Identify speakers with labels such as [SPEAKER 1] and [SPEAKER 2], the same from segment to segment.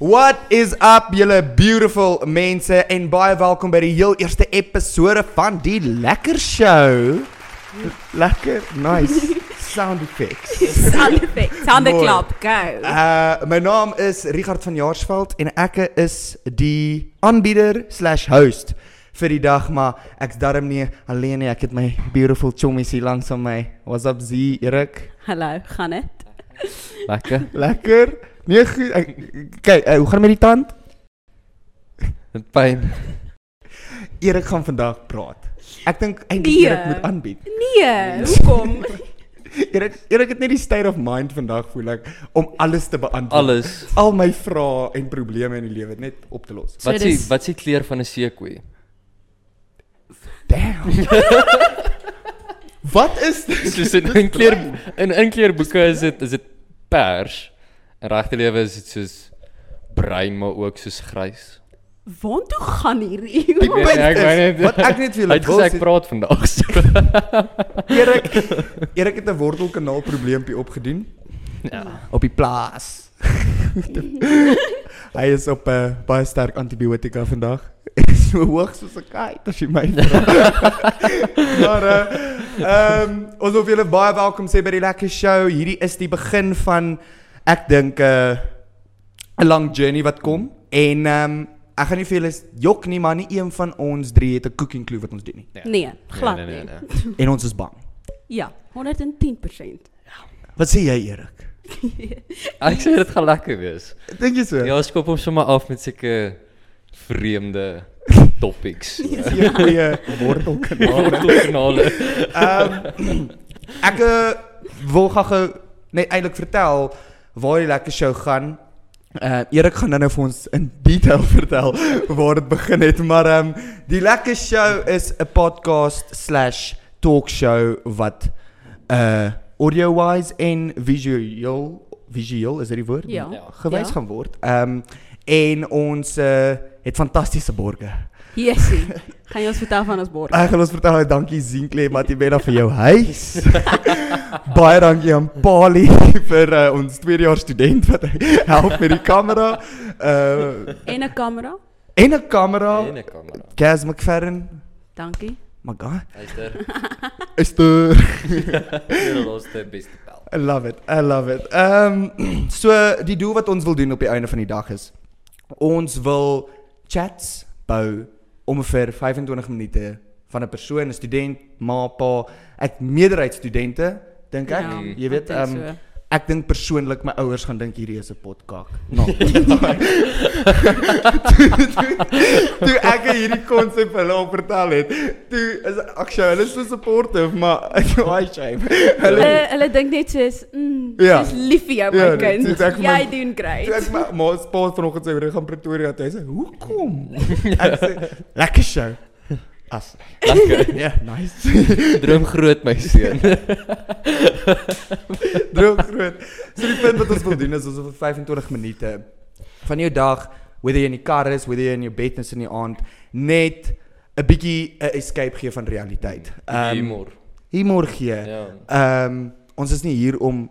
[SPEAKER 1] What is up julle beautiful mense en baie welkom by die heel eerste episode van die Lekker Show. Lekker, nice sound effects.
[SPEAKER 2] Sound effect. Sound
[SPEAKER 1] Mooi.
[SPEAKER 2] clap. Go.
[SPEAKER 1] Uh my naam is Richard van Jaarsveld en ek is die aanbieder/host vir die dag, maar ek's darm nie alleen nie. Ek het my beautiful chommies hier langs aan my. What's up Z, Erik?
[SPEAKER 2] Hallo, gaan dit?
[SPEAKER 3] Lekker.
[SPEAKER 1] Lekker. Nee, goed. Ek kyk, eh, hoe gaan dit met die tand?
[SPEAKER 3] Dit pyn.
[SPEAKER 1] Erik gaan vandag praat. Ek dink eintlik
[SPEAKER 2] Nee.
[SPEAKER 1] Erik moet aanbied.
[SPEAKER 2] Nee, hoekom?
[SPEAKER 1] Erik Erik het net die state of mind vandag voel ek om alles te beantwoord.
[SPEAKER 3] Alles.
[SPEAKER 1] Al my vrae en probleme in die lewe net op te los.
[SPEAKER 2] So
[SPEAKER 3] Wat s'ie
[SPEAKER 2] dis-
[SPEAKER 3] wat s'ie kleur van 'n seekoei?
[SPEAKER 1] Damn. Wat is dit?
[SPEAKER 3] Soos in in kleur in in kleurboeke is dit is dit pers. In regte lewe is dit soos bruin maar ook soos grys.
[SPEAKER 2] Waartoe gaan hierdie?
[SPEAKER 1] Die punt
[SPEAKER 3] ek
[SPEAKER 1] is,
[SPEAKER 3] wou net-
[SPEAKER 1] wat ek net vir
[SPEAKER 3] Hy
[SPEAKER 1] julle
[SPEAKER 3] het
[SPEAKER 1] wil
[SPEAKER 3] gesê ek
[SPEAKER 1] sê,
[SPEAKER 3] praat vandag. So.
[SPEAKER 1] Erik Erik het 'n wortelkanaal probleempie opgedoen
[SPEAKER 3] Ja.
[SPEAKER 1] op die plaas. Hy is op 'n uh, baie sterk antibiotika vandag. so hoog soos 'n kite as jy my vra. maar ehm uh, um, ons wil vir julle baie welkom sê by die lekker show. Hierdie is die begin van ek dink 'n uh, 'n lang journey wat kom en ehm um, ek gaan nie vir julle jok nie, maar nie een van ons drie het 'n cooking clue wat ons doen nie.
[SPEAKER 2] Nee, glad nie.
[SPEAKER 1] En ons is bang.
[SPEAKER 2] Ja, 110%.
[SPEAKER 1] Wat sê jy Erik?
[SPEAKER 3] Ek sê dit gaan lekker wees.
[SPEAKER 1] Dink jy so?
[SPEAKER 3] Ja, ons koop hom sommer af met sulke vreemde topics. Ja,
[SPEAKER 1] Seker goeie wortelkanaal.
[SPEAKER 3] Kanale.
[SPEAKER 1] Ehm ek eh, wil gaga net eintlik vertel waar die lekker show gaan. Uh Erik gaan nou-nou vir ons in detail vertel waar dit begin het, maar ehm die lekker show is 'n podcast/talk show wat uh audio wise en visueel visueel is dit die woord?
[SPEAKER 2] Ja.
[SPEAKER 3] Ja.
[SPEAKER 1] Gewys
[SPEAKER 2] Ja.
[SPEAKER 1] gaan word. Ehm en ons uh, het fantastiese borgers.
[SPEAKER 2] Yesie. Gaan jy ons vertel van ons bord?
[SPEAKER 1] Ek gaan ons vertel dankie Zinkle Matibela vir jou huis. Baie dankie aan Pali vir uh, ons tweedejaars student wat help met die kamera. Uh
[SPEAKER 2] En 'n kamera?
[SPEAKER 1] en 'n kamera.
[SPEAKER 3] Nee, nee, kamera.
[SPEAKER 1] Gaz McFerrin.
[SPEAKER 2] Dankie.
[SPEAKER 1] My god.
[SPEAKER 3] Hyster.
[SPEAKER 1] Is dit
[SPEAKER 3] Dit was die beste bel.
[SPEAKER 1] I love it. I love it. Ehm um, so die doel wat ons wil doen op die einde van die dag is ons wil chats bou ongeveer 25 minute van 'n persoon, 'n student, ma, pa, ek meerderheid studente dink ek,
[SPEAKER 2] Ja,
[SPEAKER 1] jy weet,
[SPEAKER 2] ek
[SPEAKER 1] ehm
[SPEAKER 2] dink
[SPEAKER 1] um,
[SPEAKER 2] so.
[SPEAKER 1] ek dink persoonlik my ouers gaan dink hierdie is 'n potkak. Nou. toe ek hierdie konsep vir hulle al vertel het, toe is ek sê hulle is so supportive, maar I shame. Hulle
[SPEAKER 2] Hulle hulle dink net soos, mm,
[SPEAKER 1] Ja.
[SPEAKER 2] dis lief vir jou my
[SPEAKER 1] Ja, dit
[SPEAKER 2] kind.
[SPEAKER 1] is ek vir my-
[SPEAKER 2] Jy doen
[SPEAKER 1] Toe ek
[SPEAKER 2] great.
[SPEAKER 1] my ma se pa vanoggend sê "Jy gaan Pretoria toe. Hy sê, "Hoekom?" Ek sê, "Lekker show." As.
[SPEAKER 3] Dankie.
[SPEAKER 1] Ja, nice.
[SPEAKER 3] Droom groot my seun.
[SPEAKER 1] Droog groot. So die punt wat ons wil doen is ons wil vir 25 minute van jou dag, whether jy in die kar is, whether jy in jou bed is in die aand, net 'n bietjie 'n escape gee van realiteit. Ehm,
[SPEAKER 3] Humor.
[SPEAKER 1] Humor gee.
[SPEAKER 3] Ja.
[SPEAKER 1] Ehm ons is nie hier om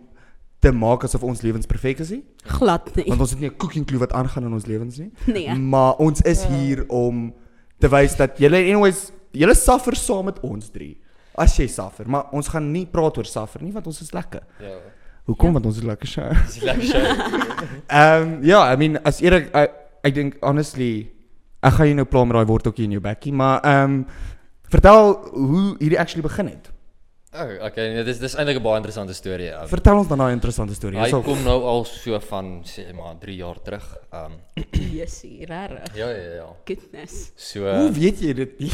[SPEAKER 1] te maak asof ons lewens perfek is nie,
[SPEAKER 2] Glad nie.
[SPEAKER 1] want Mm. ons het nie 'n cooking clue wat aangaan in ons lewens nie.
[SPEAKER 2] Nee.
[SPEAKER 1] Maar ons is hier om te wys dat julle anyways julle suffer saam met ons drie. As jy suffer, maar ons gaan nie praat oor suffer nie want ons is lekker.
[SPEAKER 3] Ja.
[SPEAKER 1] Hoekom? Ja. Want ons is lekker sy. Ehm
[SPEAKER 3] Dis lekker.
[SPEAKER 1] ja, I mean as Erik I- ek dink honestly ek gaan jou nou pla met daai worteltjie in jou bekkie, maar ehm vertel hoe hierdie actually begin het.
[SPEAKER 3] Oh, okay, nee, dis dis eintlik 'n baie interessante storie. ja.
[SPEAKER 1] Vertel ons dan daai interessante storie.
[SPEAKER 3] Hy
[SPEAKER 1] Ons sal-
[SPEAKER 3] kom nou al so van sê maar 3 jaar terug. Um
[SPEAKER 2] Yesie, rarig.
[SPEAKER 3] ja ja ja.
[SPEAKER 2] Goodness.
[SPEAKER 3] So
[SPEAKER 1] Hoe weet jy dit? nie?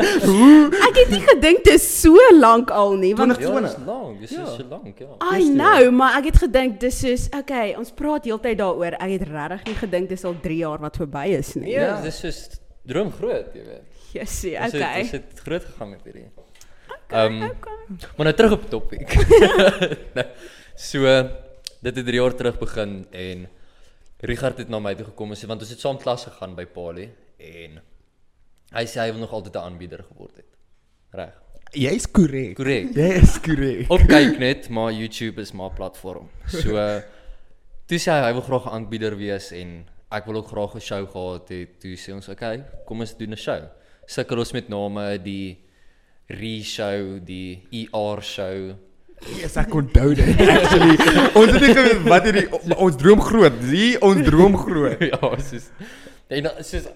[SPEAKER 2] Ek het nie gedink dit is so lank al nie, want
[SPEAKER 3] ja, dis lank, dis is so lank, ja. Ah,
[SPEAKER 2] I know, maar ek het gedink dis soos okay, ons praat heeltyd daaroor. Ek het regtig nie gedink dis al 3 jaar wat verby is nie.
[SPEAKER 3] Ja, dis is droom groot, jy weet.
[SPEAKER 2] Jessie,
[SPEAKER 3] Ons het- Ons
[SPEAKER 2] okay.
[SPEAKER 3] het groot gegaan met hierdie. Ehm maar nou terug op die topik. Nou, so dit het 3 jaar terug begin en Richard het na my toe gekom en sê want ons het saam klas gegaan by Pali en hy sê hy wil nog altyd 'n aanbieder geword het. Reg.
[SPEAKER 1] Jy's korrek.
[SPEAKER 3] Korrek.
[SPEAKER 1] Jy's korrek.
[SPEAKER 3] Opkyk net, maar YouTube is maar platform. So Toe sê hy hy wil graag 'n aanbieder wees en ek wil ook graag 'n show gehad het. Toe sê ons, "Oké, kom ons doen 'n show." Sukkel ons met name die re-show, die ER show.
[SPEAKER 1] Yes, ek onthou dit actually. ons het nie geweet wat hierdie o- ons droom groot. Zie, ons droom groot.
[SPEAKER 3] ja, soos en dan- soos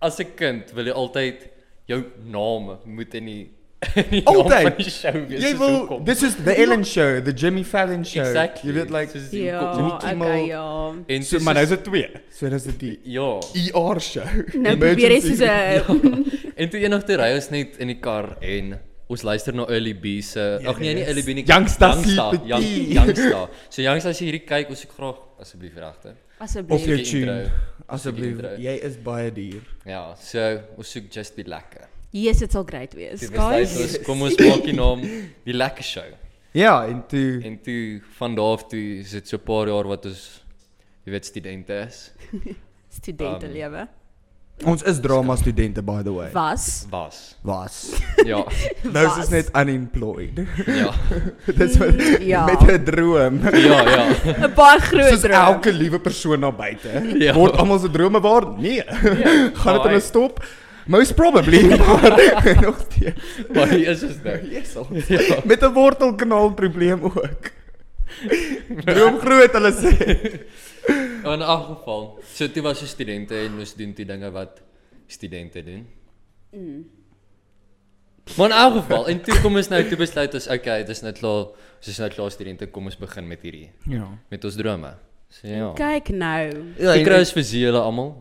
[SPEAKER 3] as 'n kind wil jy altyd jou naam moet in die in die naam van
[SPEAKER 1] Altyd.
[SPEAKER 3] die show wees.
[SPEAKER 1] Jy
[SPEAKER 3] soos
[SPEAKER 1] wil
[SPEAKER 3] hoekom.
[SPEAKER 1] this is the Ellen show, the Jimmy Fallon show.
[SPEAKER 3] Exactly.
[SPEAKER 1] Jy weet like
[SPEAKER 3] soos die
[SPEAKER 2] Ja,
[SPEAKER 3] hoekom.
[SPEAKER 1] Jimmy Kimmel.
[SPEAKER 2] okay, ja.
[SPEAKER 3] en
[SPEAKER 1] so
[SPEAKER 3] soos-
[SPEAKER 1] maar nou is dit 2. So dis die
[SPEAKER 3] ja.
[SPEAKER 1] ER show.
[SPEAKER 2] Nou probeer jy
[SPEAKER 1] Emergency. Ja.
[SPEAKER 2] soos 'n
[SPEAKER 3] En toe eendag toe ry ons net in die kar en ons luister na Early B se ag nee nie Early B nie
[SPEAKER 1] Ja, Youngsta CPT.
[SPEAKER 3] Young, Youngsta. So Youngsta as jy hierdie kyk, ons ek graag asseblief regte.
[SPEAKER 1] of
[SPEAKER 2] asseblief.
[SPEAKER 1] jou
[SPEAKER 3] Die
[SPEAKER 1] tune.
[SPEAKER 3] intro.
[SPEAKER 1] Asseblief,
[SPEAKER 3] Die intro.
[SPEAKER 1] jy is baie duur.
[SPEAKER 3] Ja, so ons soek just be lekker.
[SPEAKER 2] Yes, dit sal great wees.
[SPEAKER 3] Dit
[SPEAKER 2] Guys,
[SPEAKER 3] was ons kom ons maak die naam die lekker show.
[SPEAKER 1] Ja, en toe
[SPEAKER 3] En toe van daar af toe is dit so 'n paar jaar wat ons jy weet studente is
[SPEAKER 2] studente
[SPEAKER 3] um,
[SPEAKER 2] lewe.
[SPEAKER 1] ons is drama studente by the way.
[SPEAKER 2] Was
[SPEAKER 3] was.
[SPEAKER 1] Was.
[SPEAKER 3] Ja,
[SPEAKER 1] Nou is
[SPEAKER 2] Was.
[SPEAKER 1] ons net unemployed.
[SPEAKER 3] ja.
[SPEAKER 1] Dis wat
[SPEAKER 2] Ja.
[SPEAKER 1] met 'n droom.
[SPEAKER 3] Ja, ja.
[SPEAKER 2] 'n baie groot
[SPEAKER 1] Soos
[SPEAKER 2] droom.
[SPEAKER 1] elke liewe persoon na buite.
[SPEAKER 3] Ja.
[SPEAKER 1] Word almal se drome waar? Nee.
[SPEAKER 2] Ja.
[SPEAKER 1] Gaan dit
[SPEAKER 3] maar-
[SPEAKER 1] hulle stop? Most probably. Maar nog steeds.
[SPEAKER 3] Maar hier is ons nou.
[SPEAKER 1] Yes, al.
[SPEAKER 3] Ja.
[SPEAKER 1] Met 'n wortelkanaal probleem ook. Droom groot hulle sê.
[SPEAKER 3] Maar in elk geval, so toe was ons studente en ons doen toe dinge wat studente doen. Mm. Maar in elk geval, en toe kom ons nou toe besluit ons okay, dit is nou klaar, ons is nou klaar studente, kom ons begin met hierdie
[SPEAKER 1] Ja.
[SPEAKER 3] met ons drome. So ja.
[SPEAKER 2] Kyk nou.
[SPEAKER 1] Ja,
[SPEAKER 3] Ek
[SPEAKER 1] en-
[SPEAKER 3] kry ons vir seele almal.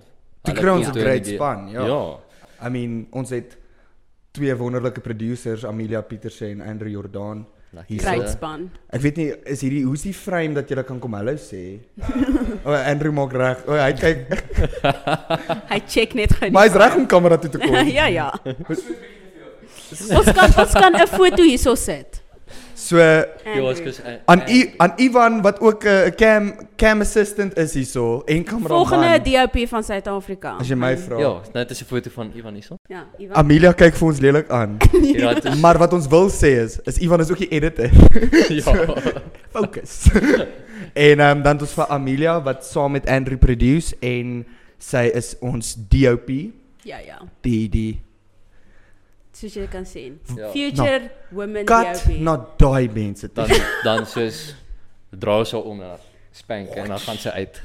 [SPEAKER 1] Toe
[SPEAKER 3] Hulle
[SPEAKER 1] kry ons
[SPEAKER 3] kom
[SPEAKER 1] 'n
[SPEAKER 3] toe in
[SPEAKER 1] great
[SPEAKER 3] die-
[SPEAKER 1] span, ja.
[SPEAKER 3] Ja.
[SPEAKER 1] I mean, ons het twee wonderlike producers, Amelia Pieterse en Andrew Jordan.
[SPEAKER 3] Lekker.
[SPEAKER 1] Hier
[SPEAKER 2] Great
[SPEAKER 1] so.
[SPEAKER 2] span.
[SPEAKER 1] Ek weet nie is hierdie hoe's die frame dat jy kan kom hallo sê. O, oh, Andrew maak reg. O, oh, hy kyk,
[SPEAKER 2] Hy check net gou.
[SPEAKER 1] maar hy's reg om kamera toe te kom.
[SPEAKER 2] ja ja. ons kan ons kan 'n foto hierso sit.
[SPEAKER 1] So aan
[SPEAKER 3] Ja, ons kus eh,
[SPEAKER 1] I,
[SPEAKER 3] eh,
[SPEAKER 1] aan Ivan wat ook 'n uh, cam cam assistant is hierso en kameraman.
[SPEAKER 2] Volgende DOP van Suid-Afrika.
[SPEAKER 1] as jy my vra.
[SPEAKER 3] Ja, nou dit is 'n foto van Ivan hierso.
[SPEAKER 2] Ja, Ivan.
[SPEAKER 1] Amelia kyk vir ons lelik aan.
[SPEAKER 3] Ja, dit is
[SPEAKER 1] Maar wat ons wil sê is, is Ivan is ook die editor.
[SPEAKER 3] ja.
[SPEAKER 1] Focus. en um, dan het ons vir Amelia wat saam met Andrew produce en sy is ons DOP,
[SPEAKER 2] Ja ja.
[SPEAKER 1] die die
[SPEAKER 2] Soos jy kan sien.
[SPEAKER 3] Ja.
[SPEAKER 2] Future
[SPEAKER 1] Nou.
[SPEAKER 2] women
[SPEAKER 1] kat
[SPEAKER 2] DOP.
[SPEAKER 1] na daai mense. toe.
[SPEAKER 3] Dan dan soos dra sy om na spank en dan gaan sy uit.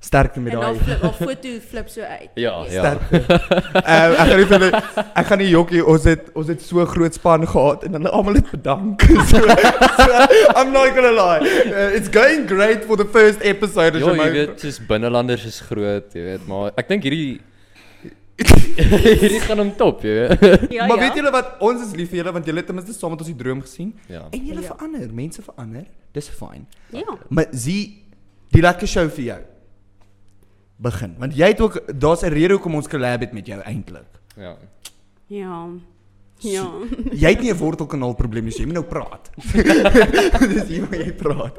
[SPEAKER 1] Sterkte met
[SPEAKER 2] En dan
[SPEAKER 1] daai.
[SPEAKER 2] flip of foto flip so uit.
[SPEAKER 3] Ja,
[SPEAKER 2] Yes.
[SPEAKER 3] ja.
[SPEAKER 1] Sterkte. Ehm, ek gaan nie vir hulle- ek gaan nie jokkie, ons het ons het so groot span gehad en hulle almal het bedank. so, so I'm not going to lie. Uh, it's going great for the first episode as
[SPEAKER 3] Ja, jy
[SPEAKER 1] my-
[SPEAKER 3] weet, soos binnelanders is groot, jy weet, maar ek dink hierdie hierdie gaan hom top, jy weet.
[SPEAKER 2] Ja,
[SPEAKER 1] maar
[SPEAKER 2] ja.
[SPEAKER 1] weet julle wat ons is lief vir julle want julle het ten minste saam met ons die droom gesien
[SPEAKER 3] Ja.
[SPEAKER 1] en julle
[SPEAKER 2] Ja.
[SPEAKER 1] verander, mense verander. Dis fyn.
[SPEAKER 2] Ja.
[SPEAKER 1] Maar zie die lekker show vir jou. Begin, want jy het ook daar's 'n rede hoekom ons collab het met jou eintlik.
[SPEAKER 3] Ja.
[SPEAKER 2] Ja. Ja.
[SPEAKER 1] Jy het nie 'n wortelkanaal probleem nie, so jy moet nou praat. Dis hier waar jy praat.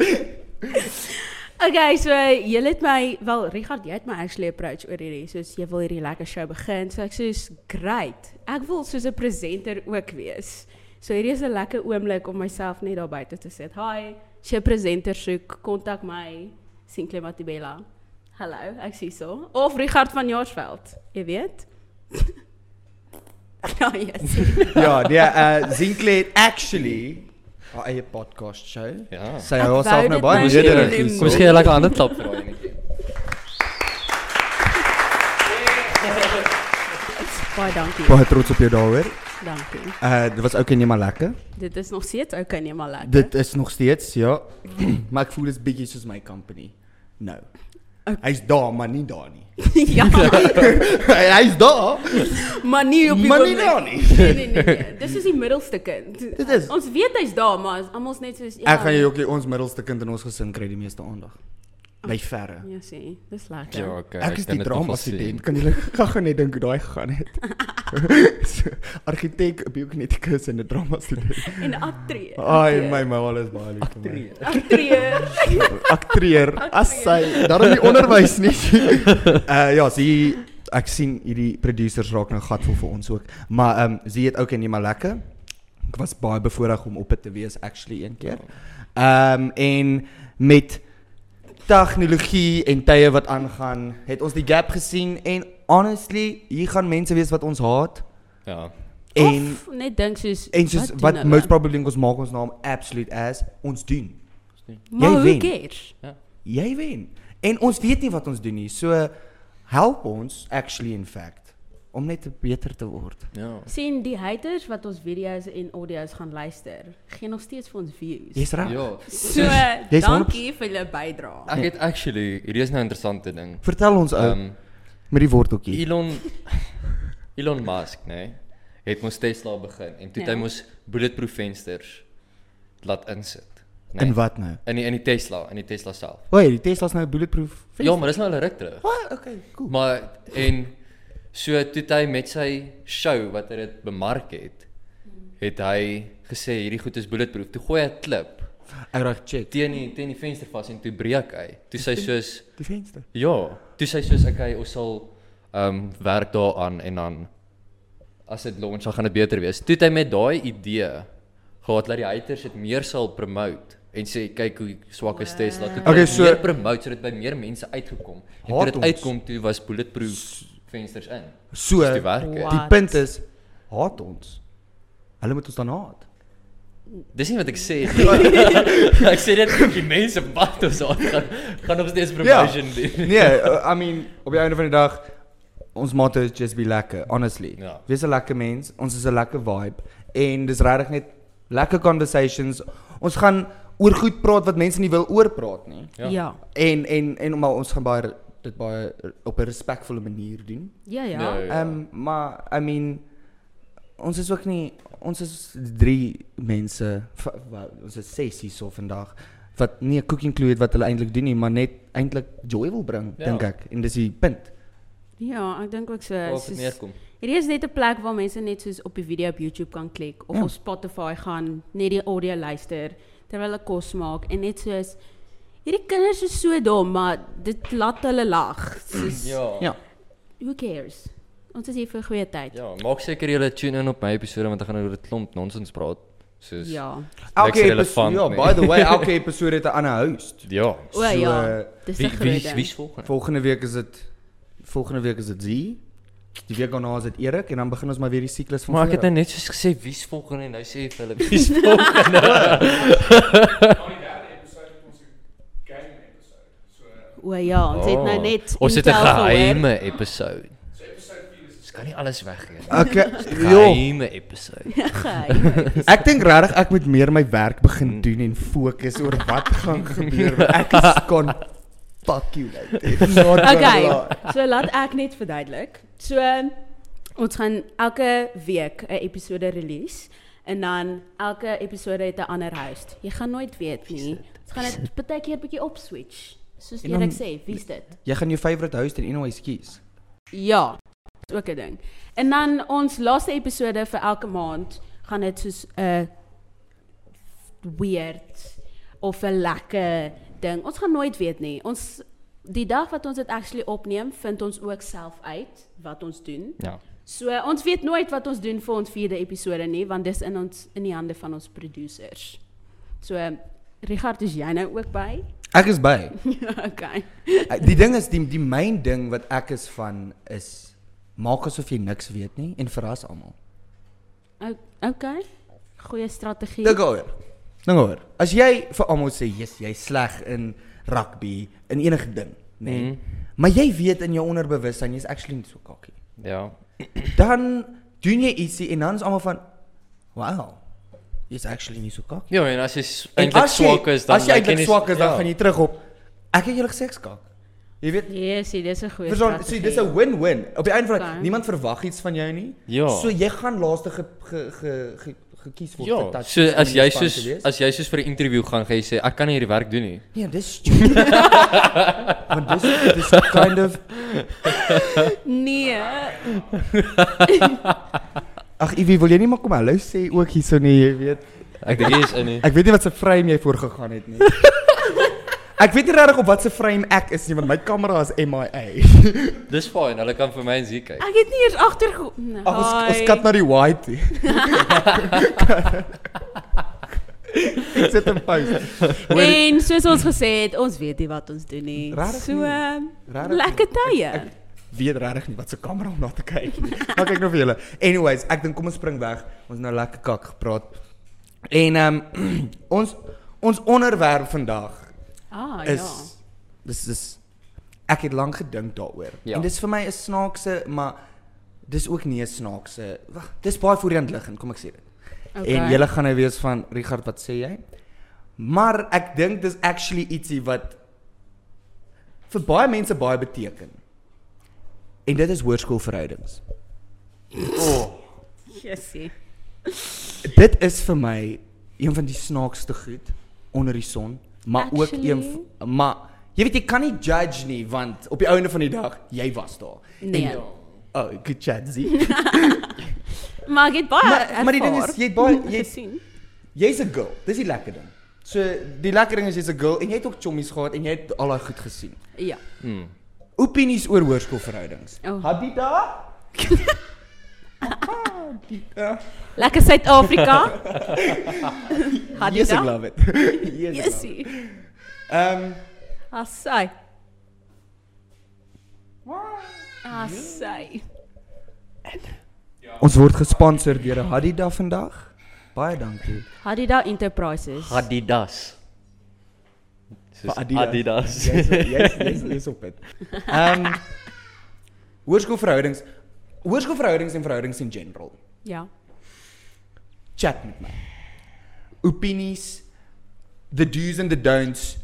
[SPEAKER 2] Okay, so jy het my wel Richard, jy het my actually approach oor hierdie, soos jy wil hierdie lekker show begin. So ek sê great. Ek wil soos 'n presenter ook wees. So hierdie is 'n lekker oomblik om myself net daar buite te sit. Hi, as jy 'n presenter soek, kontak my, Sinclair Matibela. Hallo, ek sien so. Of Richard van Jaarsveld, jy weet. ja, yes.
[SPEAKER 1] Ja, nee, uh Zinkle het actually haar eie podcast show.
[SPEAKER 3] Ja.
[SPEAKER 1] Sy
[SPEAKER 2] Ek
[SPEAKER 1] hou
[SPEAKER 2] wou
[SPEAKER 1] haarself nou
[SPEAKER 2] dit
[SPEAKER 1] baie
[SPEAKER 2] nou
[SPEAKER 1] nederig
[SPEAKER 2] doen.
[SPEAKER 1] hier.
[SPEAKER 3] Kom ons gee 'n lekker ander klap vir daai netjie.
[SPEAKER 2] Baie dankie.
[SPEAKER 1] Baie trots op jou daaroor.
[SPEAKER 2] Dankie.
[SPEAKER 1] Uh dit was ook nie maar lekker.
[SPEAKER 2] Dit is nog steeds okay nie maar lekker.
[SPEAKER 1] Dit is nog steeds, ja. maar ek voel dit is bietjie soos my company. Nou. Hy's daar, maar nie daar nie.
[SPEAKER 2] ja,
[SPEAKER 1] Hy's daar.
[SPEAKER 2] maar nie op die
[SPEAKER 1] Maar nie
[SPEAKER 2] oomblik.
[SPEAKER 1] daar nie.
[SPEAKER 2] Nee, nee, nee, nee. Dis is die middelste kind.
[SPEAKER 1] Dit is-
[SPEAKER 2] Ons weet hy's daar, maar is almal net soos ja.
[SPEAKER 1] Ek gaan jou ook ons middelste kind in ons gesin kry die meeste aandag. By verre.
[SPEAKER 2] Ja, sien. Dis lekker.
[SPEAKER 3] Ja,
[SPEAKER 2] Ja.
[SPEAKER 3] okay.
[SPEAKER 1] Ek is
[SPEAKER 3] kan
[SPEAKER 1] die
[SPEAKER 3] dit nog wel
[SPEAKER 1] drama
[SPEAKER 3] sien.
[SPEAKER 1] student. Kan julle gaga net dink hoe daai gegaan het? So, Argitek, biokinetikus en 'n drama student.
[SPEAKER 2] En aktree.
[SPEAKER 1] Ai, my ma alles baie lief vir my.
[SPEAKER 2] Aktree.
[SPEAKER 1] Aktreer as sy daarom nie onderwys nie. Uh ja, sy ek sien hierdie producers raak nou gatvol vir ons ook. Maar ehm um, sy het ook en nie maar lekker. Ek was baie
[SPEAKER 3] Ja.
[SPEAKER 1] bevoorreg om op dit te wees actually een keer. Ehm um, en met tegnologie en tye wat aangaan, het ons die gap gesien en honestly, hier gaan mense wees wat ons haat
[SPEAKER 3] Ja.
[SPEAKER 1] en
[SPEAKER 2] of net dink soos
[SPEAKER 1] en soos
[SPEAKER 2] doen
[SPEAKER 1] wat
[SPEAKER 2] hulle?
[SPEAKER 1] most probably dink ons maak ons naam absolute ass ons doen.
[SPEAKER 2] Maar
[SPEAKER 1] jy
[SPEAKER 2] who
[SPEAKER 1] wen.
[SPEAKER 2] cares?
[SPEAKER 1] Jy wen. En ons weet nie wat ons doen nie. So help ons actually in fact om net beter te word.
[SPEAKER 3] Ja.
[SPEAKER 2] sien die haters wat ons video's en audio's gaan luister, gee nog steeds vir ons views.
[SPEAKER 1] Jy's reg.
[SPEAKER 3] Ja.
[SPEAKER 2] So,
[SPEAKER 1] Jy's
[SPEAKER 2] dankie vir julle bydrae.
[SPEAKER 3] Ek het actually, hierdie is nou 'n interessante ding.
[SPEAKER 1] Vertel ons ou
[SPEAKER 3] Ehm
[SPEAKER 1] met die worteltjie.
[SPEAKER 3] Elon Elon Musk, né, het mos Tesla begin en toe het hy
[SPEAKER 2] Ja.
[SPEAKER 3] mos bulletproof vensters laat insit. né?
[SPEAKER 1] En wat nou?
[SPEAKER 3] in die, in die Tesla, in die Tesla self.
[SPEAKER 1] Oei, die Tesla's nou bulletproof.
[SPEAKER 3] Ja, maar dis nou al 'n ruk terug.
[SPEAKER 1] Wat? Okay, cool.
[SPEAKER 3] Maar en so toe het hy met sy show wat hy dit bemark het, het hy gesê hierdie goed is bulletproof. Toe gooi hy 'n klip
[SPEAKER 1] Ou reg check.
[SPEAKER 3] teen die teen die venster vas en toe breek hy. Toe sê hy soos
[SPEAKER 1] Die venster.
[SPEAKER 3] Ja, toe sê hy soos okay, ons sal ehm um, werk daaraan en dan as dit launch dan gaan dit beter wees. Toe het hy met daai idee gehad dat die haters dit meer sal promote en sê kyk hoe swak is Tesla. Toe het hy
[SPEAKER 1] Okay,
[SPEAKER 3] dit
[SPEAKER 1] so-
[SPEAKER 3] meer promote sodat by meer mense uitgekom. En toe
[SPEAKER 1] Haat
[SPEAKER 3] dit
[SPEAKER 1] ons.
[SPEAKER 3] uitkom toe was bulletproof vensters in.
[SPEAKER 1] So
[SPEAKER 3] Dis die werk. hè.
[SPEAKER 2] Wow.
[SPEAKER 1] die punt is haat ons. Hulle moet ons dan haat.
[SPEAKER 3] Dis nie wat ek sê nie. ek sê net die mense wat ons aan gaan gaan ons
[SPEAKER 1] Ja.
[SPEAKER 3] steeds promotion doen.
[SPEAKER 1] Nee, uh, I mean op die einde van die dag ons motto is just be lekker, honestly.
[SPEAKER 3] Ja.
[SPEAKER 1] Wees 'n lekker mens. Ons is 'n lekker vibe en dis regtig net lekker conversations. Ons gaan oor goed praat wat mense nie wil oor praat nie.
[SPEAKER 3] Ja.
[SPEAKER 2] Ja.
[SPEAKER 1] En en en maar ons gaan baie re- dit baie re- op 'n respekvolle manier doen.
[SPEAKER 2] Ja ja.
[SPEAKER 3] Nee,
[SPEAKER 1] Ehm maar I mean ons is ook nie ons is drie mense v- wel, ons is ses hierso vandag wat nie 'n cooking clue het wat hulle eintlik doen nie, maar net eintlik joy wil bring,
[SPEAKER 3] Ja.
[SPEAKER 1] dink ek. En dis die punt.
[SPEAKER 2] Ja, ek dink ook so.
[SPEAKER 3] Waar het
[SPEAKER 2] soos-
[SPEAKER 3] dit neerkom.
[SPEAKER 2] Hierdie is net 'n plek waar mense net soos op die video op YouTube kan klik of
[SPEAKER 1] Ja.
[SPEAKER 2] op Spotify gaan, net die audio luister terwyl hulle kos maak en net soos hierdie kinders is so dom, maar dit laat hulle lag. Soos
[SPEAKER 3] Ja.
[SPEAKER 1] Ja.
[SPEAKER 2] who cares? Ons is hier vir goeie tyd.
[SPEAKER 3] Ja, maak seker julle tune in op my episode want ek gaan oor 'n klomp nonsens praat. Soos
[SPEAKER 2] Ja.
[SPEAKER 1] Elke
[SPEAKER 3] Niks
[SPEAKER 1] episode,
[SPEAKER 3] relevant
[SPEAKER 1] ja,
[SPEAKER 3] nie.
[SPEAKER 1] by the way, elke episode het 'n ander host.
[SPEAKER 3] Ja.
[SPEAKER 2] O ja,
[SPEAKER 1] eh,
[SPEAKER 2] dis 'n
[SPEAKER 3] Wie
[SPEAKER 2] groot
[SPEAKER 3] wie
[SPEAKER 2] ding.
[SPEAKER 3] wie's volgende?
[SPEAKER 1] Volgende week is dit volgende week is dit Z. Die week daarna is dit Erik en dan begin ons maar weer die siklus van
[SPEAKER 3] Maar ek het
[SPEAKER 1] voor
[SPEAKER 3] nou
[SPEAKER 1] af.
[SPEAKER 3] net soos gesê wie's volgende en nou sê jy vir hulle wie's volgende.
[SPEAKER 2] O ja, ons het nou
[SPEAKER 3] Oh,
[SPEAKER 2] net
[SPEAKER 3] Ons het 'n
[SPEAKER 2] intel gehoor.
[SPEAKER 3] geheime episode. Ons kan nie alles weggee nie.
[SPEAKER 1] Okay, joh.
[SPEAKER 3] Geheime episode.
[SPEAKER 2] Geheim.
[SPEAKER 1] Ek dink regtig ek moet meer my werk begin doen en fokus oor wat gaan gebeur want ek is kon fuck you like. Not
[SPEAKER 2] Okay. So laat ek net verduidelik. So ons gaan elke week 'n episode release en dan elke episode het 'n ander host. Jy gaan nooit weet nie. Ons gaan dit baie keer 'n bietjie opswitch. Soos
[SPEAKER 1] En dan-
[SPEAKER 2] Erik sê, wie's dit?
[SPEAKER 1] Jy gaan jou favorite host in anyways kies.
[SPEAKER 2] Ja, is ook 'n ding. En dan ons laaste episode vir elke maand gaan dit soos 'n weird of 'n lekker ding. Ons gaan nooit weet nie. Ons die dag wat ons dit actually opneem, vind ons ook self uit wat ons doen.
[SPEAKER 3] Ja.
[SPEAKER 2] So ons weet nooit wat ons doen vir ons vierde episode nie, want dis in ons in die hande van ons producers. So Richard, is jy nou ook by?
[SPEAKER 1] Ek is by.
[SPEAKER 2] Ja, okay.
[SPEAKER 1] Die ding is die die myn ding wat ek is van is maak asof jy niks weet nie en verras almal.
[SPEAKER 2] O- Okay. Goeie strategie.
[SPEAKER 1] Dink oor. Dink oor. Nou As jy vir almal sê, "Jesus, jy's sleg in rugby, in enige ding," nê? Nee,
[SPEAKER 3] Mhm.
[SPEAKER 1] Maar jy weet in jou onderbewussyn jy's actually nie so kakkie.
[SPEAKER 3] Ja.
[SPEAKER 1] Dan doen jy ietsie en dan is almal van, "Wow, jy's actually nie so kakkie."
[SPEAKER 3] Ja, en as jy s-
[SPEAKER 1] En
[SPEAKER 3] eintlik
[SPEAKER 1] as jy-
[SPEAKER 3] swak is dan
[SPEAKER 1] as jy
[SPEAKER 3] lyk
[SPEAKER 1] eintlik
[SPEAKER 3] nie-
[SPEAKER 1] swak is, dan
[SPEAKER 3] Ja.
[SPEAKER 1] gaan jy terug op, "Ek het julle gesê ek's kak." Jy weet,
[SPEAKER 2] Yes, dit Nee, is 'n goeie
[SPEAKER 1] Verstaan,
[SPEAKER 2] strategie.
[SPEAKER 1] sien, dis 'n win-win. Op die einde van die dag,
[SPEAKER 2] Oké.
[SPEAKER 1] niemand verwag iets van jou nie.
[SPEAKER 3] Ja.
[SPEAKER 1] So jy gaan laaste ge, ge, ge, ge, gekies word vir
[SPEAKER 3] Ja,
[SPEAKER 1] touch
[SPEAKER 3] so
[SPEAKER 1] om
[SPEAKER 3] as
[SPEAKER 1] in
[SPEAKER 3] jy
[SPEAKER 1] die span te
[SPEAKER 3] soos
[SPEAKER 1] wees.
[SPEAKER 3] as jy soos vir 'n onderhoud gaan, gaan jy sê ek kan nie hierdie werk doen nie.
[SPEAKER 1] Nee, dis stupid. Want dis dis kind of
[SPEAKER 2] Nee.
[SPEAKER 1] Ag Ivy, wil jy nie maar kom hallo sê ook hierso nie, jy weet.
[SPEAKER 3] Ek dink jy is in nie.
[SPEAKER 1] Ek weet nie wat se frame jy voorgegaan het nie. Ek weet nie regtig op wat se frame ek is nie, want my kamera is MIA.
[SPEAKER 3] Dis fyn, hulle kan vir my en sien kyk.
[SPEAKER 2] Ek het nie eers agtergekom.
[SPEAKER 1] Ag ons ons kat na die white. toe. Ek sit en post. Hoor,
[SPEAKER 2] En soos ons gesê het, ons weet nie wat ons doen nie.
[SPEAKER 1] Rarig
[SPEAKER 2] so
[SPEAKER 1] nie.
[SPEAKER 2] ehm,
[SPEAKER 1] Rarig
[SPEAKER 2] lekker tye.
[SPEAKER 1] weet regtig nie wat se kamera om na te kyk nie. Maar kyk nou vir julle. Anyways, ek dink kom ons spring weg. Ons het nou lekker kak gepraat. En ehm ons ons onderwerp vandag
[SPEAKER 2] Ah ja.
[SPEAKER 1] is dis is ek het lank gedink daaroor.
[SPEAKER 3] Ja.
[SPEAKER 1] En dis vir my 'n snaakse, maar dis ook nie 'n snaakse. Wag, dis baie voor die hand liggend, kom ek sê dit.
[SPEAKER 2] Okay.
[SPEAKER 1] En julle gaan nou wees van Richard, wat sê jy? Maar ek dink dis actually ietsie wat vir baie mense baie beteken. En dit is hoërskoolverhoudings.
[SPEAKER 2] ja. Jessie.
[SPEAKER 1] Dit is vir my een van die snaakste goed onder die son, maar
[SPEAKER 2] Actually?
[SPEAKER 1] ook een v- maar jy weet jy kan nie judge nie want op die einde van die dag jy was daar.
[SPEAKER 2] Nee.
[SPEAKER 1] En, oh, good chat, Zee.
[SPEAKER 2] Maar ek het baie.
[SPEAKER 1] Maar- maar die ding
[SPEAKER 2] ervaar.
[SPEAKER 1] is, jy het baie- jy-
[SPEAKER 2] gesien.
[SPEAKER 1] Jy's 'n girl. Dis die lekker ding. So die lekker ding is jy's 'n girl en jy het ook chommies gehad en jy het al daai goed gesien.
[SPEAKER 2] Ja.
[SPEAKER 3] Hmm.
[SPEAKER 1] Opinies oor hoërskoolverhoudings.
[SPEAKER 2] Oh.
[SPEAKER 1] Hadida? Hadida.
[SPEAKER 2] Lekker Suid-Afrika. Hadida?
[SPEAKER 1] Yes, I love it. yes. I love it.
[SPEAKER 2] Jessie.
[SPEAKER 1] Ehm
[SPEAKER 2] Asai. Asai.
[SPEAKER 1] ons word gesponsor deur 'n Hadida vandag. Baie dankie.
[SPEAKER 2] Hadida Enterprises.
[SPEAKER 3] Adidas. Soos
[SPEAKER 1] Adidas.
[SPEAKER 3] Adidas.
[SPEAKER 1] Jy's jy's jy's- jy's op dit. Ehm hoërskoolverhoudings hoërskoolverhoudings en verhoudings in general.
[SPEAKER 2] ja.
[SPEAKER 1] chat met my. Opinies, the do's and the don'ts.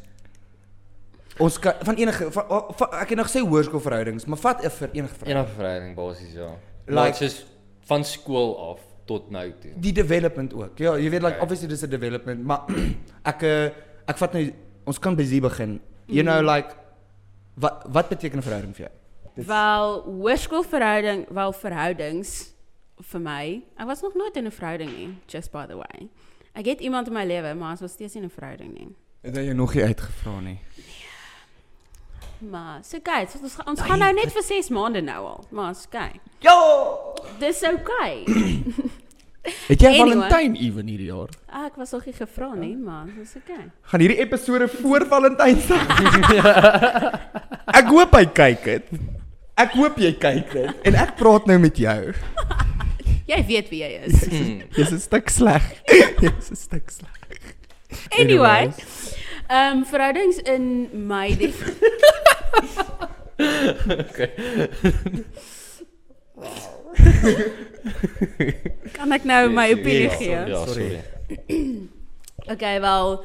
[SPEAKER 1] Ons kan van enige van, van, ek het nog gesê hoërskoolverhoudings, maar vat vir enige verhouding.
[SPEAKER 3] Enige verhouding basies ja. Like
[SPEAKER 1] Like-
[SPEAKER 3] soos van skool af tot nou toe.
[SPEAKER 1] Die development ook. Ja, jy weet like
[SPEAKER 3] Okay.
[SPEAKER 1] obviously dis 'n development, maar ek eh, ek vat nou ons kan by Z begin. You know like wat wat beteken 'n verhouding vir jou? Dis-
[SPEAKER 2] Wel, hoërskoolverhouding, wel verhoudings vir my. Ek was nog nooit in 'n verhouding nie, just by the way. Ek het iemand in my lewe, maar ons was steeds nie in 'n verhouding nie.
[SPEAKER 1] Het jy nog nie uitgevra nie.
[SPEAKER 2] Maar so kyk, so ons, ons gaan nou net vir 6 maande nou al, maar ons kyk.
[SPEAKER 1] Ja!
[SPEAKER 2] Dis okay.
[SPEAKER 1] Het jy
[SPEAKER 2] Anyway.
[SPEAKER 1] Valentyn ewen hierdie jaar?
[SPEAKER 2] Ah, ek was nog nie gevra nie, maar dis okay.
[SPEAKER 1] Gaan hierdie episode voor Valentynsdag. ek hoop hy kyk dit. Ek hoop jy kyk dit en ek praat nou met jou.
[SPEAKER 2] Jy weet wie jy is.
[SPEAKER 3] Hmm.
[SPEAKER 1] Jy's 'n stuk sleg. Jy's 'n stuk sleg.
[SPEAKER 2] Anyway, ehm verhoudings in my def- kan ek nou my opinie
[SPEAKER 3] Ja,
[SPEAKER 2] gee?
[SPEAKER 3] Ja,
[SPEAKER 1] Sorry.
[SPEAKER 3] sorry.
[SPEAKER 2] Okay, wel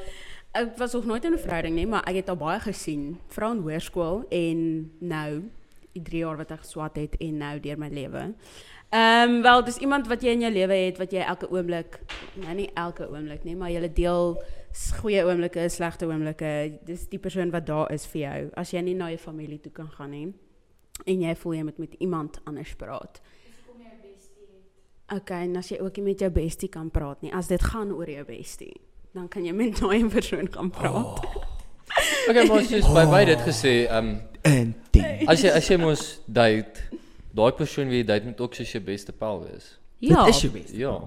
[SPEAKER 2] ek was nog nooit in 'n verhouding nie, maar ek het al baie gesien, veral in hoërskool en nou die 3 jaar wat ek geswat het en nou deur my lewe. Ehm wel, dis iemand wat jy in jou lewe het wat jy elke oomblik, nou nie elke oomblik nie, maar jy deel s- goeie oomblikke, slegte oomblikke. Dis die persoon wat daar is vir jou as jy nie na jou familie toe kan gaan nie en jy voel jy moet met iemand anders praat. OK, en as jy ook nie met jou bestie kan praat nie, as dit gaan oor jou bestie, dan kan jy met daai persoon gaan praat.
[SPEAKER 3] Okay, maar soos by by dit gesê, ehm
[SPEAKER 1] En ding.
[SPEAKER 3] as jy as jy mos date, daai persoon wie jy date moet ook soos jou beste pel wees.
[SPEAKER 2] Ja.
[SPEAKER 1] Dit is jou bes.
[SPEAKER 3] Ja.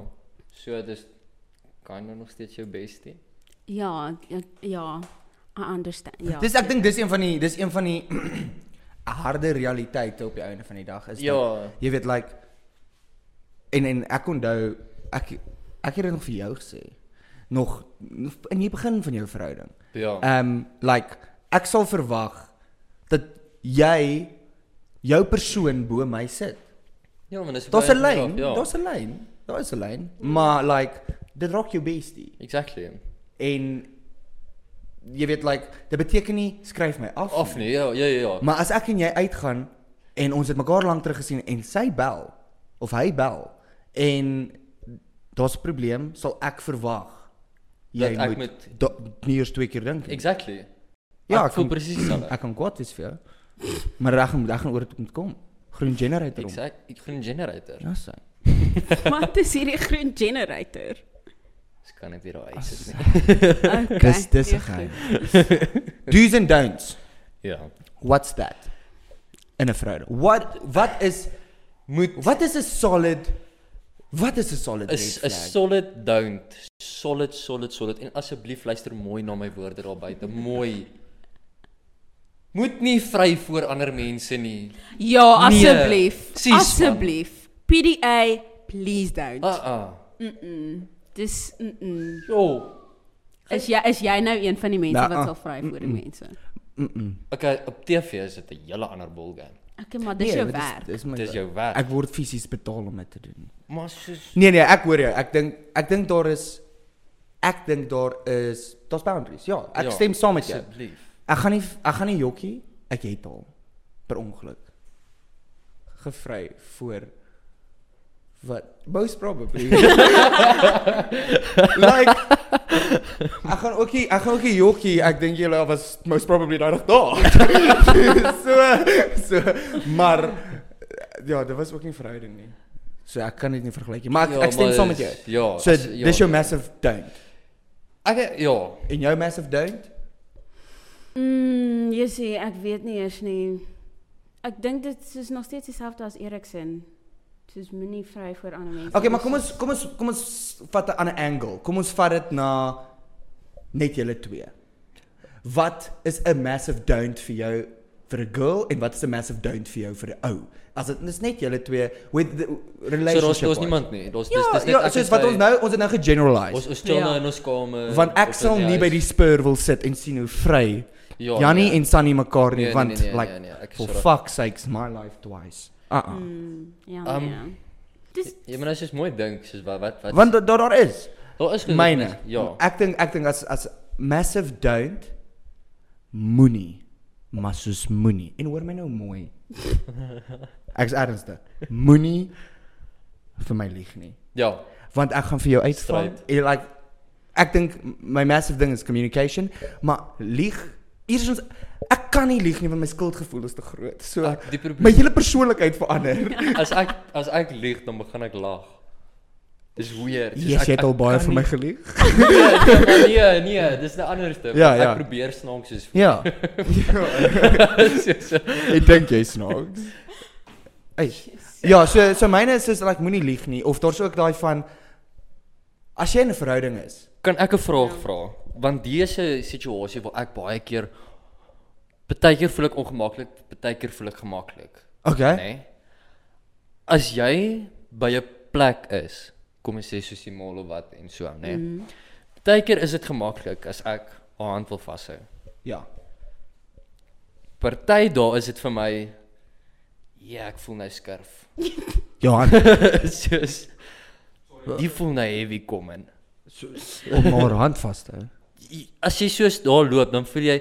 [SPEAKER 3] So dis kan nou nog steeds jou bestie.
[SPEAKER 2] Ja, ja, ja, I understand. Ja.
[SPEAKER 1] Dis ek dink dis een van die dis een van die harde realiteite op die einde van die dag is dat
[SPEAKER 3] Ja.
[SPEAKER 1] Jy weet like en en ek onthou ek ek het dit nog vir jou gesê. Nog in die begin van jou verhouding.
[SPEAKER 3] Ja.
[SPEAKER 1] Ehm like ek sal verwag dat jy jou persoon bo my sit.
[SPEAKER 3] Ja, maar dis
[SPEAKER 1] Daar's
[SPEAKER 3] baie
[SPEAKER 1] 'n lyn,
[SPEAKER 3] interessant,
[SPEAKER 1] daar's 'n lyn, daar is 'n lyn, maar like dit raak jou bestie
[SPEAKER 3] Exactly.
[SPEAKER 1] en jy weet like dit beteken nie skryf my af.
[SPEAKER 3] Of nee, ja, ja, ja, ja.
[SPEAKER 1] Maar as ek en jy uitgaan en ons het mekaar lank terug gesien en sy bel of hy bel en daar's 'n probleem, sal ek verwag jy
[SPEAKER 3] Dat ek
[SPEAKER 1] moet
[SPEAKER 3] moet-
[SPEAKER 1] da, nie eers twee keer dink nie.
[SPEAKER 3] Exactly.
[SPEAKER 1] Ja,
[SPEAKER 3] ek voel
[SPEAKER 1] kan-
[SPEAKER 3] presies dieselfde.
[SPEAKER 1] Ek kan kwaad wees vir jou. Maar ek gaan ek gaan oor dit moet kom. Groen generator om.
[SPEAKER 3] Exact. Ek groen generator.
[SPEAKER 1] Ja, sy.
[SPEAKER 2] maar dis hierdie groen generator.
[SPEAKER 3] Ek kan dit hier daai sit nie.
[SPEAKER 2] Okay.
[SPEAKER 1] Dis dis 'n
[SPEAKER 2] nee,
[SPEAKER 1] geheim.
[SPEAKER 2] goed.
[SPEAKER 1] Do's and don'ts.
[SPEAKER 3] Ja.
[SPEAKER 1] What's that? In 'n verhouding. What wat is
[SPEAKER 3] Moet
[SPEAKER 1] wat is 'n solid Wat is 'n solid
[SPEAKER 3] is
[SPEAKER 1] red
[SPEAKER 3] 'n
[SPEAKER 1] flag?
[SPEAKER 3] solid don't solid, solid, solid. En asseblief luister mooi na my woorde daar buite. Mooi. Moet nie vry voor ander mense nie.
[SPEAKER 2] Ja,
[SPEAKER 3] Nee,
[SPEAKER 2] asseblief.
[SPEAKER 3] sies, man.
[SPEAKER 2] asseblief. PDA, please don't.
[SPEAKER 3] Ah ah.
[SPEAKER 2] Dis mm -mm.
[SPEAKER 3] Jo.
[SPEAKER 2] Is jy is jy nou een van die mense
[SPEAKER 1] Nou,
[SPEAKER 2] wat
[SPEAKER 1] ah,
[SPEAKER 2] sal vry voor die mense?
[SPEAKER 3] Okay, op TV is dit 'n hele ander ballgame.
[SPEAKER 2] Okay, maar
[SPEAKER 1] Nee,
[SPEAKER 2] dis jou werk.
[SPEAKER 1] Dis, Oh my
[SPEAKER 3] Dis
[SPEAKER 1] werk.
[SPEAKER 3] jou werk.
[SPEAKER 1] Ek word fisies betaal om dit te doen.
[SPEAKER 3] Maar soos
[SPEAKER 1] Nee nee, ek hoor jou. Ek dink ek dink daar is ek dink daar is daar's boundaries. Ja, ek
[SPEAKER 3] Ja,
[SPEAKER 1] stem saam met jou.
[SPEAKER 3] Asseblief.
[SPEAKER 1] Ek gaan nie ek gaan nie jokkie. Ek het al per ongeluk gevry voor wat most probably like ek gaan ook nie ek gaan ook nie jokkie. Ek dink julle was most probably daai dag daar. so so maar ja, dit was ook nie verhouding nie. So ek kan dit nie vergelyk nie, maar ek,
[SPEAKER 3] Ja,
[SPEAKER 1] ja, ek stem
[SPEAKER 3] maar
[SPEAKER 1] saam met jou.
[SPEAKER 3] is- ja,
[SPEAKER 1] So
[SPEAKER 3] is- ja,
[SPEAKER 1] dis jou
[SPEAKER 3] ja.
[SPEAKER 1] massive don't.
[SPEAKER 3] Ek ja.
[SPEAKER 1] En jou massive don't?
[SPEAKER 2] Mm, jy sê ek weet nie eers nie. Ek dink dit is nog steeds dieselfde as Eriksen. Dis moenie vry voor ander mense.
[SPEAKER 1] Okay, maar kom ons kom ons kom ons vat 'n ander angle. Kom ons vat dit na net julle twee. Wat is 'n massive don't vir jou vir 'n girl en wat is 'n massive don't vir jou vir 'n ou? As dit is net julle twee with the
[SPEAKER 3] So
[SPEAKER 1] relationship.
[SPEAKER 3] daar's daar's
[SPEAKER 1] wise.
[SPEAKER 3] niemand nie. Daar's dis
[SPEAKER 1] Ja,
[SPEAKER 3] dis net
[SPEAKER 1] ja,
[SPEAKER 3] ek
[SPEAKER 1] soos
[SPEAKER 3] en
[SPEAKER 1] wat
[SPEAKER 3] sy-
[SPEAKER 1] ons nou ons het nou gegeneraliseer.
[SPEAKER 3] Ons ons chill nou
[SPEAKER 2] Ja.
[SPEAKER 3] in ons kamer.
[SPEAKER 1] Want ek
[SPEAKER 3] op
[SPEAKER 1] sal
[SPEAKER 3] in
[SPEAKER 1] nie by die
[SPEAKER 3] huis.
[SPEAKER 1] Spur wil sit en sien hoe vry
[SPEAKER 3] Ja,
[SPEAKER 1] Jannie
[SPEAKER 3] nee.
[SPEAKER 1] en Sunny mekaar nie
[SPEAKER 3] Nee, nee,
[SPEAKER 1] want
[SPEAKER 3] nee, nee,
[SPEAKER 1] like
[SPEAKER 3] nee, nee, ek is
[SPEAKER 1] for
[SPEAKER 3] reg.
[SPEAKER 1] fuck sakes my life twice. Uh
[SPEAKER 3] Ah.
[SPEAKER 1] uh.
[SPEAKER 2] Mm, ja,
[SPEAKER 3] Ehm,
[SPEAKER 2] um, ja. Dis
[SPEAKER 3] Jy moet nou soos mooi dink soos wat wat wat.
[SPEAKER 1] Want da- daar daar is
[SPEAKER 3] daar is genoeg
[SPEAKER 1] myne.
[SPEAKER 3] mense- Ja.
[SPEAKER 1] Ek dink ek dink as as massive don't moenie maar soos moenie. En hoor my nou mooi. Ek's ernstig. Moenie vir my lieg nie.
[SPEAKER 3] Ja.
[SPEAKER 1] want ek gaan vir jou uitvang.
[SPEAKER 3] Stryd.
[SPEAKER 1] En like ek dink my massive ding is communication, maar lieg eers ons ek kan nie lieg nie want my skuldgevoel is te groot. So
[SPEAKER 3] Ek- die probleem-
[SPEAKER 1] my hele persoonlikheid verander.
[SPEAKER 3] As ek as ek lieg dan begin ek lag. Dis weird. soos
[SPEAKER 1] Yes,
[SPEAKER 3] ek-
[SPEAKER 1] jy het
[SPEAKER 3] ek
[SPEAKER 1] al baie
[SPEAKER 3] kan
[SPEAKER 1] vir my
[SPEAKER 3] nie-
[SPEAKER 1] gelieg.
[SPEAKER 3] Nee, nee, dis 'n ander ding.
[SPEAKER 1] Ja, ja.
[SPEAKER 3] Ek probeer snaaks soos
[SPEAKER 1] Ja.
[SPEAKER 3] soos
[SPEAKER 1] Ek dink jy snaaks. Ai. Ja, so so myne is is like moenie lieg nie of daar's ook daai van as jy in 'n verhouding is.
[SPEAKER 3] Kan ek 'n vraag vra? Want dese situasie waar ek baie keer baie keer voel ek ongemaklik, baie keer voel ek gemaklik,
[SPEAKER 1] Okay.
[SPEAKER 3] nê? Nee? As jy by 'n plek is, kom ons sê soos die mall of wat en so, nê? Nee?
[SPEAKER 2] Mhm.
[SPEAKER 3] Mm. Baie keer is dit gemaklik as ek haar hand wil vashou.
[SPEAKER 1] Ja.
[SPEAKER 3] Party daar is dit vir my ja, ek voel nou skerp.
[SPEAKER 1] Johan,
[SPEAKER 3] soos die voel nou heavy kom in.
[SPEAKER 1] om haar hand vas te hou.
[SPEAKER 3] jy- as jy soos daar loop, dan voel jy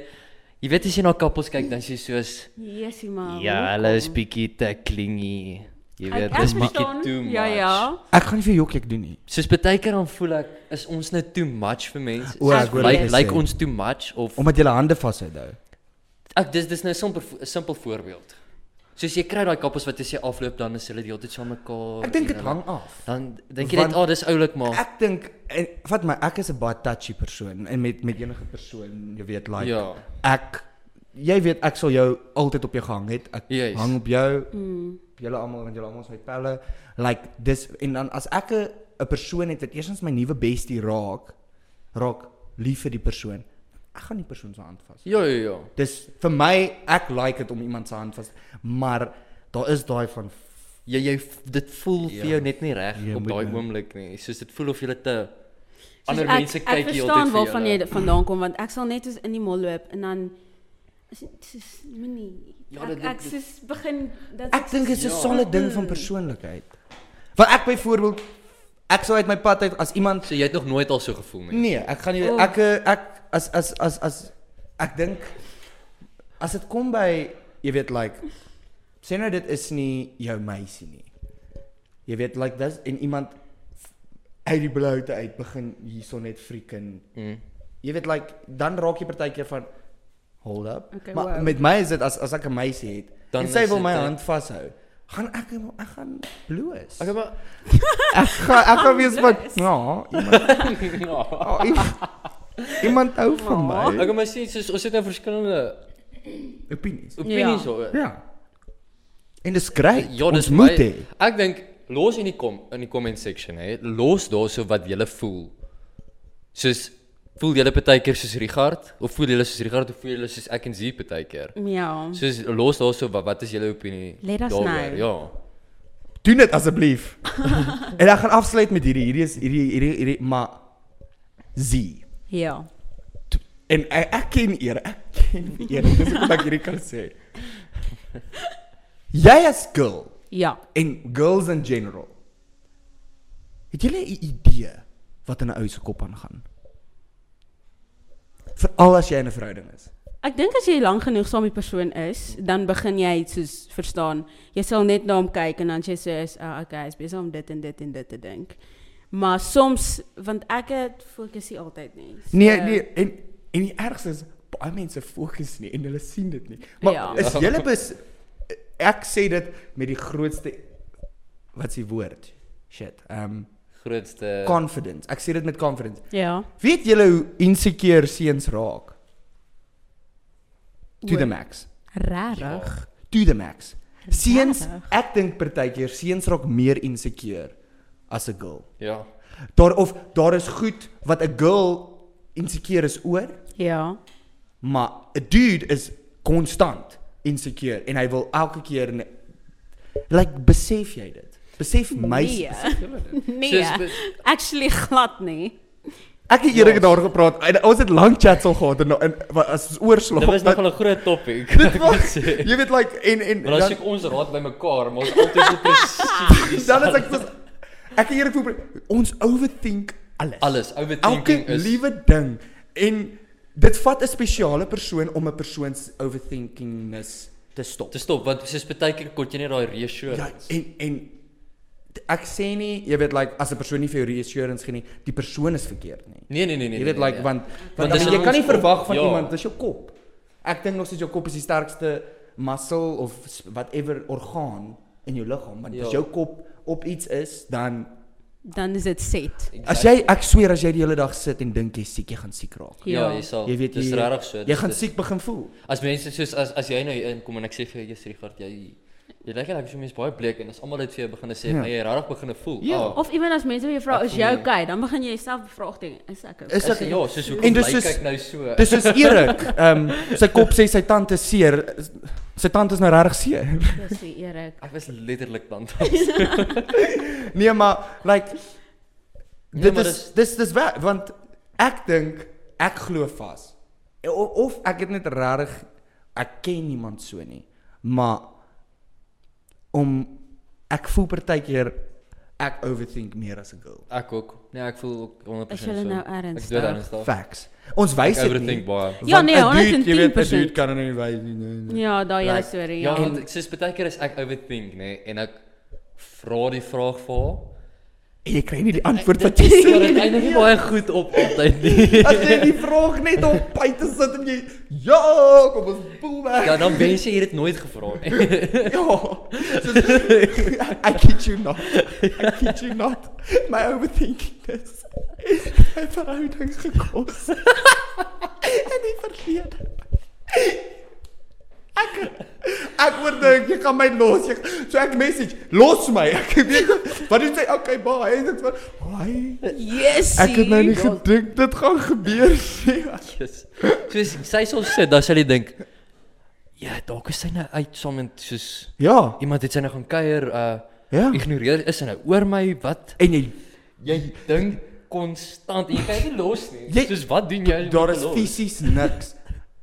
[SPEAKER 3] jy weet as jy na koppels kyk, dan is jy soos
[SPEAKER 2] Jesusie maar.
[SPEAKER 3] ja, hulle is bietjie te klingy. Jy
[SPEAKER 2] Ek-
[SPEAKER 3] weet,
[SPEAKER 2] ek
[SPEAKER 3] dis bietjie
[SPEAKER 2] verstaan.
[SPEAKER 3] too much.
[SPEAKER 2] Ja, ja.
[SPEAKER 1] Ek gaan nie vir jou kyk doen nie.
[SPEAKER 3] Soos baie keer dan voel ek is ons nou too much vir mense.
[SPEAKER 1] O,
[SPEAKER 3] Soos,
[SPEAKER 2] ek hoor wat
[SPEAKER 3] lyk
[SPEAKER 1] jy
[SPEAKER 3] lyk
[SPEAKER 1] sê.
[SPEAKER 3] ons too much of
[SPEAKER 1] Omdat jy jou hande vashou hou.
[SPEAKER 3] ek dis dis nou 'n simpel vo- 'n simpel voorbeeld. Soos jy kry daai koppels wat as jy afloop dan is hulle die hele tyd saam mekaar.
[SPEAKER 1] Ek dink
[SPEAKER 3] en
[SPEAKER 1] dit
[SPEAKER 3] hulle-
[SPEAKER 1] hang af.
[SPEAKER 3] Dan dink jy net,
[SPEAKER 1] Want-
[SPEAKER 3] "Ag, oh, dis oulik maar."
[SPEAKER 1] Ek dink en vat my, ek is 'n baie touchy persoon en met met enige persoon, jy weet, like
[SPEAKER 3] Ja.
[SPEAKER 1] ek jy weet ek sal jou altyd op jou gehang het. Ek
[SPEAKER 3] Juis.
[SPEAKER 1] hang op jou. op Julle almal want julle almal is my pelle. Like dis en dan as ek 'n 'n persoon het wat eersins my nuwe bestie raak, raak lief vir die persoon. Ek gaan die persoon se hand vas.
[SPEAKER 3] Ja, ja, ja.
[SPEAKER 1] Dis vir my ek like dit om iemand se hand vas, maar daar is daai van
[SPEAKER 3] Jy jy dit voel ja. vir jou net nie reg
[SPEAKER 1] Jy
[SPEAKER 3] op
[SPEAKER 1] moet
[SPEAKER 3] daai
[SPEAKER 1] nou-
[SPEAKER 3] oomblik nie. Soos dit voel of jy te
[SPEAKER 2] Soos
[SPEAKER 3] ander
[SPEAKER 2] ek-
[SPEAKER 3] mense kyk
[SPEAKER 2] Ek
[SPEAKER 3] jy
[SPEAKER 2] Dus verstaan
[SPEAKER 3] altyd
[SPEAKER 2] waarvan jy dit vandaan kom want ek sal net soos in die mall loop en dan is dit soos moenie
[SPEAKER 3] Ja,
[SPEAKER 2] ek
[SPEAKER 3] dit- dit-
[SPEAKER 2] ek soos begin dat Hmm.
[SPEAKER 1] Ek dink dit is 'n
[SPEAKER 3] Ja.
[SPEAKER 1] solide ding van persoonlikheid. Want ek byvoorbeeld ek sou uit my pad uit as iemand
[SPEAKER 3] So jy het nog nooit al so gevoel nie.
[SPEAKER 1] nee, ek gaan nie
[SPEAKER 2] Oh.
[SPEAKER 1] ek eh, ek as as as as ek dink as dit kom by jy weet like sê nou dit is nie jou meisie nie. Jy weet like dis en iemand uit die bloute uit begin hierson net freaking
[SPEAKER 3] Mm.
[SPEAKER 1] jy weet like dan raak jy partykeer van hold up.
[SPEAKER 2] Okay,
[SPEAKER 1] maar
[SPEAKER 2] wow.
[SPEAKER 1] met my is dit as as ek 'n meisie het dan
[SPEAKER 3] Dan
[SPEAKER 1] en sy
[SPEAKER 3] is
[SPEAKER 1] wil
[SPEAKER 3] dit
[SPEAKER 1] my
[SPEAKER 3] een-
[SPEAKER 1] hand vashou, gaan ek ek gaan bloos.
[SPEAKER 3] Okay, maar
[SPEAKER 1] ek gaan ek gaan wees van ja, iemand
[SPEAKER 3] ja.
[SPEAKER 1] oh, iemand, iemand hou
[SPEAKER 3] Oh.
[SPEAKER 1] van Oh my.
[SPEAKER 3] Okay, maar sien soos ons het nou verskillende
[SPEAKER 1] Opinies.
[SPEAKER 3] opinies oor.
[SPEAKER 1] Ja. En dis great.
[SPEAKER 3] Ja, dis
[SPEAKER 1] Ons moet
[SPEAKER 3] my-
[SPEAKER 1] hê.
[SPEAKER 3] Ek dink los in die kom in die comment section hè. Los daarso wat jy voel Soos voel julle baie keer soos Richard of voel julle soos Richard of voel julle soos ek en Z baie keer?
[SPEAKER 2] Ja.
[SPEAKER 3] Soos los daarso wat wat is julle opinie?
[SPEAKER 2] Let us know.
[SPEAKER 3] daaroor? Ja.
[SPEAKER 1] Doen dit asseblief. en ek gaan afsluit met hierdie hierdie is hierdie hierdie hierdie maar Z.
[SPEAKER 2] Ja.
[SPEAKER 1] En ek, ek ken eer, ek ken eer. Dis hoekom ek hierdie kan sê. Jy as girl
[SPEAKER 2] Ja.
[SPEAKER 1] en girls in general. Het julle 'n idee wat in 'n ou se kop aangaan? Veral as jy in 'n verhouding is.
[SPEAKER 2] Ek dink as jy lank genoeg saam met die persoon is, dan begin jy soos verstaan. Jy sal net na hom kyk en dan sê jy soos, "Ah, okay, hy's besig om dit en dit en dit te dink." Maar soms want ek het fokus nie altyd nie. So-
[SPEAKER 1] Nee, nee, en en die ergste is baie mense fokus nie en hulle sien dit nie. Maar ja.
[SPEAKER 2] Ja.
[SPEAKER 1] is julle bes ek sê dit met die grootste wat's die woord? Shit. Um
[SPEAKER 3] Grootste
[SPEAKER 1] confidence. Ek sê dit met confidence.
[SPEAKER 2] Ja.
[SPEAKER 1] Weet julle hoe insecure seuns raak? To the
[SPEAKER 2] Oor-
[SPEAKER 1] max.
[SPEAKER 2] Rarig.
[SPEAKER 1] To the max. Seuns,
[SPEAKER 2] Regtig?
[SPEAKER 1] ek dink partykeer seuns raak meer insecure as 'n girl.
[SPEAKER 3] Ja.
[SPEAKER 1] Daar of daar is goed wat 'n girl insecure is oor,
[SPEAKER 2] Ja.
[SPEAKER 1] maar 'n dude is konstant insecure en hy wil elke keer ne- like besef jy dit? Besef my
[SPEAKER 2] Nee.
[SPEAKER 1] besef julle dit?
[SPEAKER 2] Nee.
[SPEAKER 3] Soos be-
[SPEAKER 2] Actually glad nie.
[SPEAKER 1] Ek het eerlik daar gepraat. en Ons het lank chats al gehad en en wa- as ons oorslaap.
[SPEAKER 3] Dit was
[SPEAKER 1] dan-
[SPEAKER 3] nogal 'n groot topic.
[SPEAKER 1] Dit
[SPEAKER 3] ek moet
[SPEAKER 1] was Ja.
[SPEAKER 3] sê.
[SPEAKER 1] jy weet like en en
[SPEAKER 3] Maar as
[SPEAKER 1] dan,
[SPEAKER 3] ek ons raad by mekaar, maar ons altyd so presies.
[SPEAKER 1] dan is ek soos ek het eerlik voel ons overthink alles.
[SPEAKER 3] alles overthinking
[SPEAKER 1] Elke
[SPEAKER 3] is
[SPEAKER 1] liewe ding en dit vat 'n spesiale persoon om 'n persoon se overthinkingness te stop.
[SPEAKER 3] te stop want soos baie keer kon jy net daai reassurance.
[SPEAKER 1] Ja, en en t- ek sê nie jy weet like as 'n persoon nie vir jou reassurance gee nie, die persoon is verkeerd nie.
[SPEAKER 3] Nee nee nee nee.
[SPEAKER 1] Jy
[SPEAKER 3] nee,
[SPEAKER 1] weet like
[SPEAKER 3] nee.
[SPEAKER 1] want
[SPEAKER 3] Want
[SPEAKER 1] want
[SPEAKER 3] dis
[SPEAKER 1] I mean,
[SPEAKER 3] in
[SPEAKER 1] jy kan nie
[SPEAKER 3] ons kop,
[SPEAKER 1] verwag van
[SPEAKER 3] ja.
[SPEAKER 1] iemand dis jou kop. Ek dink nog steeds jou kop is die sterkste muscle of s- whatever orgaan in jou liggaam, want
[SPEAKER 3] Ja.
[SPEAKER 1] as jou kop op iets is, dan
[SPEAKER 2] Dan is dit set.
[SPEAKER 1] as jy ek sweer as jy die hele dag sit en dink jy's siek, jy gaan siek raak.
[SPEAKER 3] ja,
[SPEAKER 2] Ja.
[SPEAKER 3] jy sal.
[SPEAKER 1] Jy weet
[SPEAKER 3] dis
[SPEAKER 1] jy
[SPEAKER 3] regtig so.
[SPEAKER 1] Jy gaan
[SPEAKER 3] dis-
[SPEAKER 1] siek begin voel.
[SPEAKER 3] As mense soos as as jy nou hier inkom en ek sê vir jou jy's Richard, jy jy lyk like so mense baie bleek en as almal dit vir jou begin sê,
[SPEAKER 1] Ja.
[SPEAKER 3] maar jy regtig begin voel.
[SPEAKER 1] Ja.
[SPEAKER 3] ah,
[SPEAKER 2] Of iemand as mense vir jou vra,
[SPEAKER 3] Ek
[SPEAKER 2] "Is
[SPEAKER 3] voel
[SPEAKER 2] jy
[SPEAKER 3] nie.
[SPEAKER 2] okay?" Dan begin jy jouself bevraagteken, is ek okay?
[SPEAKER 1] Is
[SPEAKER 3] Ek sê
[SPEAKER 1] ek
[SPEAKER 3] ja, soos hoe
[SPEAKER 1] En
[SPEAKER 3] kom
[SPEAKER 1] dis
[SPEAKER 3] jy
[SPEAKER 1] soos-
[SPEAKER 3] kyk nou so.
[SPEAKER 1] Dis soos Erik. Ehm sy kop sê sy tand is seer. Sy tand is nou regtig seer.
[SPEAKER 2] Dis die Erik.
[SPEAKER 3] Ek was letterlik dan.
[SPEAKER 1] Nee, maar like
[SPEAKER 3] Nee,
[SPEAKER 1] dit
[SPEAKER 3] maar
[SPEAKER 1] is dis dis waar want ek dink ek glo vas. O- Of ek het net regtig ek ken niemand so nie. Maar om ek voel partykeer ek overthink meer as 'n girl.
[SPEAKER 3] Ek ook. Nee, ek voel ook 100%
[SPEAKER 2] Is julle
[SPEAKER 3] so.
[SPEAKER 2] nou
[SPEAKER 3] Ek doen
[SPEAKER 2] ernstig?
[SPEAKER 3] ernstig.
[SPEAKER 1] Facts. Ons wys
[SPEAKER 3] Ek
[SPEAKER 1] dit nie.
[SPEAKER 3] overthink baie.
[SPEAKER 2] Ja, nee,
[SPEAKER 1] want 'n dude, jy weet, 'n
[SPEAKER 2] 110%.
[SPEAKER 1] dude kan nie wys nie. nee, nee.
[SPEAKER 2] Ja, daai hele
[SPEAKER 1] Right.
[SPEAKER 2] storie.
[SPEAKER 3] Ja,
[SPEAKER 2] Ja.
[SPEAKER 3] want ek sê baie keer is ek overthink, nê, en ek vra die vraag vir haar.
[SPEAKER 1] En
[SPEAKER 2] Nee.
[SPEAKER 1] jy kry nie die antwoord wat jy
[SPEAKER 3] Dis
[SPEAKER 1] sê
[SPEAKER 3] maar Nee, Ja, dit eindig nie baie goed op altyd nie.
[SPEAKER 1] As jy die vraag net op by te sit en jy ja, kom ons boel weg.
[SPEAKER 3] Ja, dan wens jy het dit nooit gevra nie.
[SPEAKER 1] Ja. Soos- I kid you not. I kid you not. My overthinking is my verhoudings gekos. en die verlede. Ek ek word dink uh, jy gaan my los. Jy, so ek message, los my. Ek weet wat is jy? Okay, bye. En dit van, "Why?"
[SPEAKER 2] Yes.
[SPEAKER 1] Ek het nou nie gedink dit gaan gebeur nie.
[SPEAKER 3] Yes. Soos sy sal sit, eh, dan sal jy dink ja, dalk is sy nou uit saam met soos
[SPEAKER 1] Ja.
[SPEAKER 3] iemand het sy nou gaan kuier, uh
[SPEAKER 1] Ja.
[SPEAKER 3] ignoreer is sy nou oor my wat?
[SPEAKER 1] En jy
[SPEAKER 3] Jy dink konstant, jy kan dit nie los nie.
[SPEAKER 1] Jy-
[SPEAKER 3] soos wat doen jy? om
[SPEAKER 1] Daar
[SPEAKER 3] dit
[SPEAKER 1] is
[SPEAKER 3] te los?
[SPEAKER 1] fisies niks.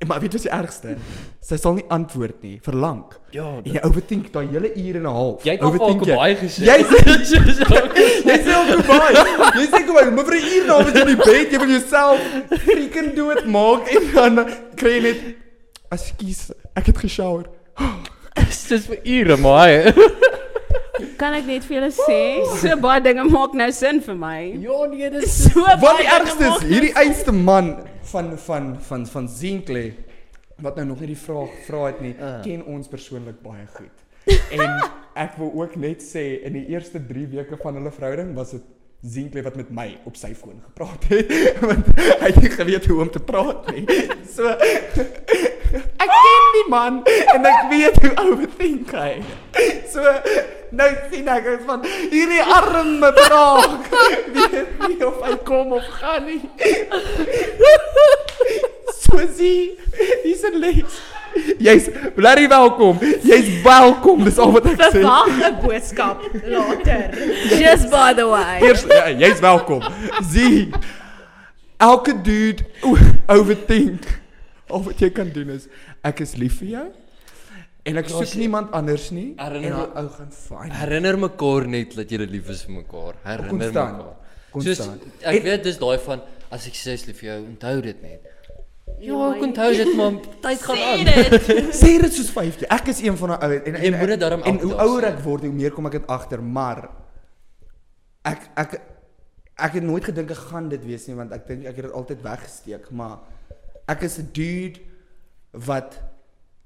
[SPEAKER 1] En Maar weet jy wat die ergste? Sy sal nie antwoord nie vir lank.
[SPEAKER 3] Ja,
[SPEAKER 1] En jy overthink daai hele uur en 'n half.
[SPEAKER 3] Jy het al
[SPEAKER 1] Overthink
[SPEAKER 3] vir baie gesê.
[SPEAKER 1] Jy sê
[SPEAKER 3] soos ook-
[SPEAKER 1] jy sê al baie. Jy sê kom maar vir 'n uur en 'n half is jy in die bed, jy wil jouself freaking dood maak en dan kry jy net ekskuus, ek het geshower.
[SPEAKER 3] soos vir ure, maar hy.
[SPEAKER 2] Kan ek net vir julle sê, so baie dinge maak nou sin vir my.
[SPEAKER 3] Ja, nee, dit
[SPEAKER 2] So
[SPEAKER 1] Wat die
[SPEAKER 2] baie
[SPEAKER 1] ergste is,
[SPEAKER 2] dinge maak nou
[SPEAKER 1] hierdie
[SPEAKER 2] sin.
[SPEAKER 1] einste man van van van van Zinkle wat nou nog nie die vraag vra het nie,
[SPEAKER 3] Ah.
[SPEAKER 1] ken ons persoonlik baie goed. En ek wil ook net sê in die eerste 3 weke van hulle verhouding was dit Zinkle wat met my op sy foon gepraat het want hy het nie geweet hoe om te praat nie. So ek ken die man en ek weet hoe overthink hy. so nou sien ek is van hierdie arme braak. Weet nie of hy kom of gaan nie. Susie, dis 'n lees. Jy's bly welkom. Jy's welkom. Dis al wat ek sê.
[SPEAKER 2] Verwag 'n boodskap later. Just by the way.
[SPEAKER 1] Eers ja, jy's welkom. Zie. Elke dude o- overthink. Al wat jy kan doen is ek is lief vir jou en ek soek
[SPEAKER 3] Rosie.
[SPEAKER 1] niemand anders nie.
[SPEAKER 3] Herinner
[SPEAKER 1] en
[SPEAKER 3] jou-
[SPEAKER 1] daai ou gaan fyn.
[SPEAKER 3] Herinner mekaar net dat julle lief is vir mekaar. Herinner
[SPEAKER 1] Konstant.
[SPEAKER 3] mekaar. Soos
[SPEAKER 1] Konstant.
[SPEAKER 3] ek
[SPEAKER 1] En-
[SPEAKER 3] weet dis daai van as ek sê ek is lief vir jou, onthou dit net. Ja,
[SPEAKER 2] Ja,
[SPEAKER 3] ek onthou dit maar tyd gaan
[SPEAKER 2] Sê
[SPEAKER 3] aan.
[SPEAKER 2] dit.
[SPEAKER 1] Sê dit soos 50. Ek is een van daai ouens en, en
[SPEAKER 3] Jy moet dit daarom
[SPEAKER 1] en hoe
[SPEAKER 3] elke dag
[SPEAKER 1] ouer
[SPEAKER 3] sê.
[SPEAKER 1] ek word, hoe meer kom ek dit agter, maar ek ek ek het nooit gedink ek gaan dit wees nie want ek dink ek het dit altyd weggesteek, maar ek is 'n dude wat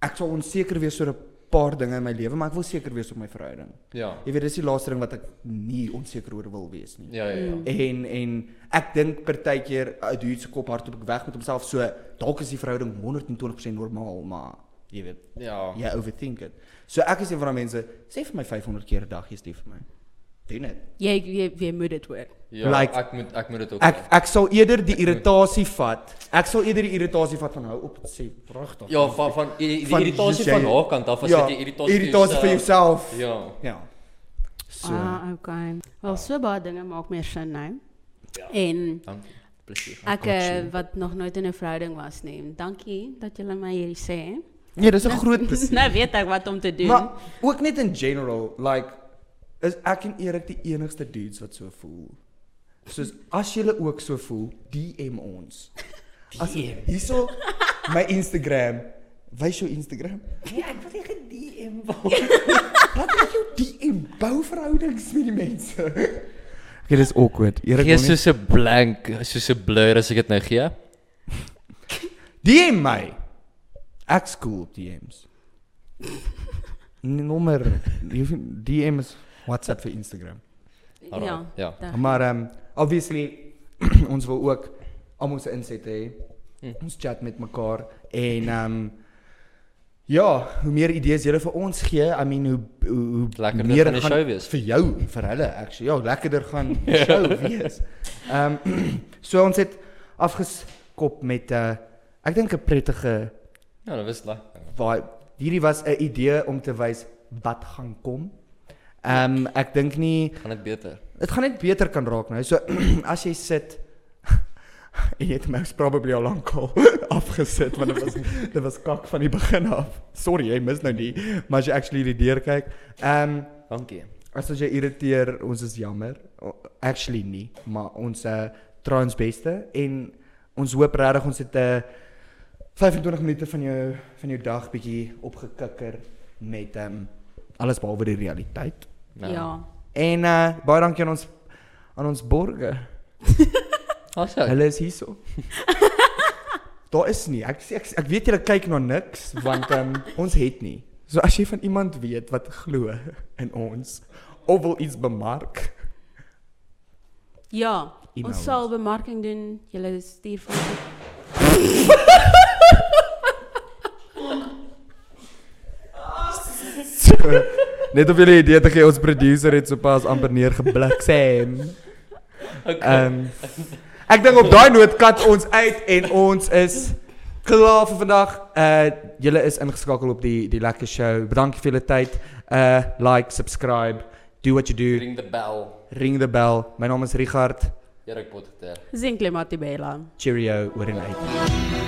[SPEAKER 1] ek sal onseker wees oor 'n paar dinge in my lewe, maar ek wil seker wees op my verhouding.
[SPEAKER 3] Ja.
[SPEAKER 1] Jy weet, dis die laaste ding wat ek nie onseker oor wil wees nie.
[SPEAKER 3] Ja ja ja.
[SPEAKER 1] En en ek dink partykeer 'n dude se kop hardop weg met homself, so dalk is die verhouding 120% normaal, maar jy weet,
[SPEAKER 3] Ja.
[SPEAKER 1] jy overthink dit. So ek is een van daai mense, sê vir my 500 keer 'n dag jy's lief vir my. Doen dit.
[SPEAKER 2] Jy jy jy moet dit hoor.
[SPEAKER 3] Ja,
[SPEAKER 1] Like-
[SPEAKER 3] ek moet ek moet dit ook.
[SPEAKER 1] Ek ek sal eerder die irritasie vat. Ek sal eerder die irritasie vat van hou op te sê pragtig.
[SPEAKER 3] ja, van van die, die
[SPEAKER 1] Van-
[SPEAKER 3] irritasie
[SPEAKER 1] jy-
[SPEAKER 3] van haar kant af as ja, jy irritasie
[SPEAKER 1] irritasie vir jouself. Ja.
[SPEAKER 3] Ja.
[SPEAKER 1] ja. So
[SPEAKER 2] Ah, okay. Wel so baie dinge maak meer sin nou.
[SPEAKER 1] Ja.
[SPEAKER 2] En
[SPEAKER 3] Dankie. Plesier.
[SPEAKER 2] ek eh, wat nog nooit in 'n verhouding was nie. Dankie dat julle my hierdie sê.
[SPEAKER 1] nee, dis 'n groot plesier.
[SPEAKER 2] Nou weet ek wat om te doen.
[SPEAKER 1] Maar ook net in general, like is ek en Erik die enigste dudes wat so voel. Soos as julle ook so voel, DM ons. As hierso my Instagram, wys jou Instagram.
[SPEAKER 3] Nee, ek wil nie DM word.
[SPEAKER 1] Laat ek jou DM bou verhoudings met die mense. Okay, dis awkward. Erik
[SPEAKER 3] Gee soos 'n blank, soos 'n blur as ek dit nou gee.
[SPEAKER 1] DM my. Ek skool op DMs. Nommer, jy hoef nie- DM is WhatsApp vir Instagram.
[SPEAKER 2] ja.
[SPEAKER 3] Ja.
[SPEAKER 2] dag.
[SPEAKER 1] Maar ehm obviously ons wil ook almal se insette hê.
[SPEAKER 3] Hm.
[SPEAKER 1] Ons chat met mekaar en ehm ja, hoe meer idees julle vir ons gee, I mean hoe hoe, hoe
[SPEAKER 3] Lekkerder gaan die show wees.
[SPEAKER 1] vir jou en vir hulle actually. Ja, lekkerder gaan die show wees. Ehm so ons het afgeskop met 'n uh, ek dink 'n prettige
[SPEAKER 3] Ja, dit was lekker.
[SPEAKER 1] vibe. Hierdie was 'n idee om te wys wat gaan kom. Ehm ek dink nie
[SPEAKER 3] Gaan dit beter.
[SPEAKER 1] Dit gaan net beter kan raak nou. So as jy sit en jy het mos probably al lank al afgesit want dit was dit was kak van die begin af. Sorry, jy mis nou nie, maar as jy actually die deur kyk, ehm um,
[SPEAKER 3] Dankie.
[SPEAKER 1] as ons jou irriteer, ons is jammer. O- Actually nie, maar ons uh, try ons beste en ons hoop regtig ons het 'n uh, 25 minute van jou van jou dag bietjie opgekikker met ehm um, alles behalwe die realiteit.
[SPEAKER 3] Nou.
[SPEAKER 2] Ja.
[SPEAKER 1] En uh, baie dankie aan ons aan ons borge.
[SPEAKER 3] Ons ja.
[SPEAKER 1] Hulle is hierso. Daar is nie. Ek sê- ek, ek weet julle kyk na niks want um, ons het nie. So as jy van iemand weet wat glo in ons of wil iets bemark,
[SPEAKER 2] Ja,
[SPEAKER 1] E-mail
[SPEAKER 2] ons
[SPEAKER 1] ons.
[SPEAKER 2] sal bemarking doen. Julle stuur vir ons.
[SPEAKER 1] so, net om julle idee te gee, ons producer het sopas amper neergeblik Sam. Ehm ek dink op daai noot kat ons uit en ons is klaar vir vandag. Uh julle is ingeskakel op die die lekker show. Bedankie vir julle tyd. Uh like, subscribe, do what you do,
[SPEAKER 3] Ring the bell.
[SPEAKER 1] ring the bell. My naam is Richard.
[SPEAKER 3] Erik Potgieter.
[SPEAKER 2] Zinkle Matibela.
[SPEAKER 1] Cheerio, oor en uit.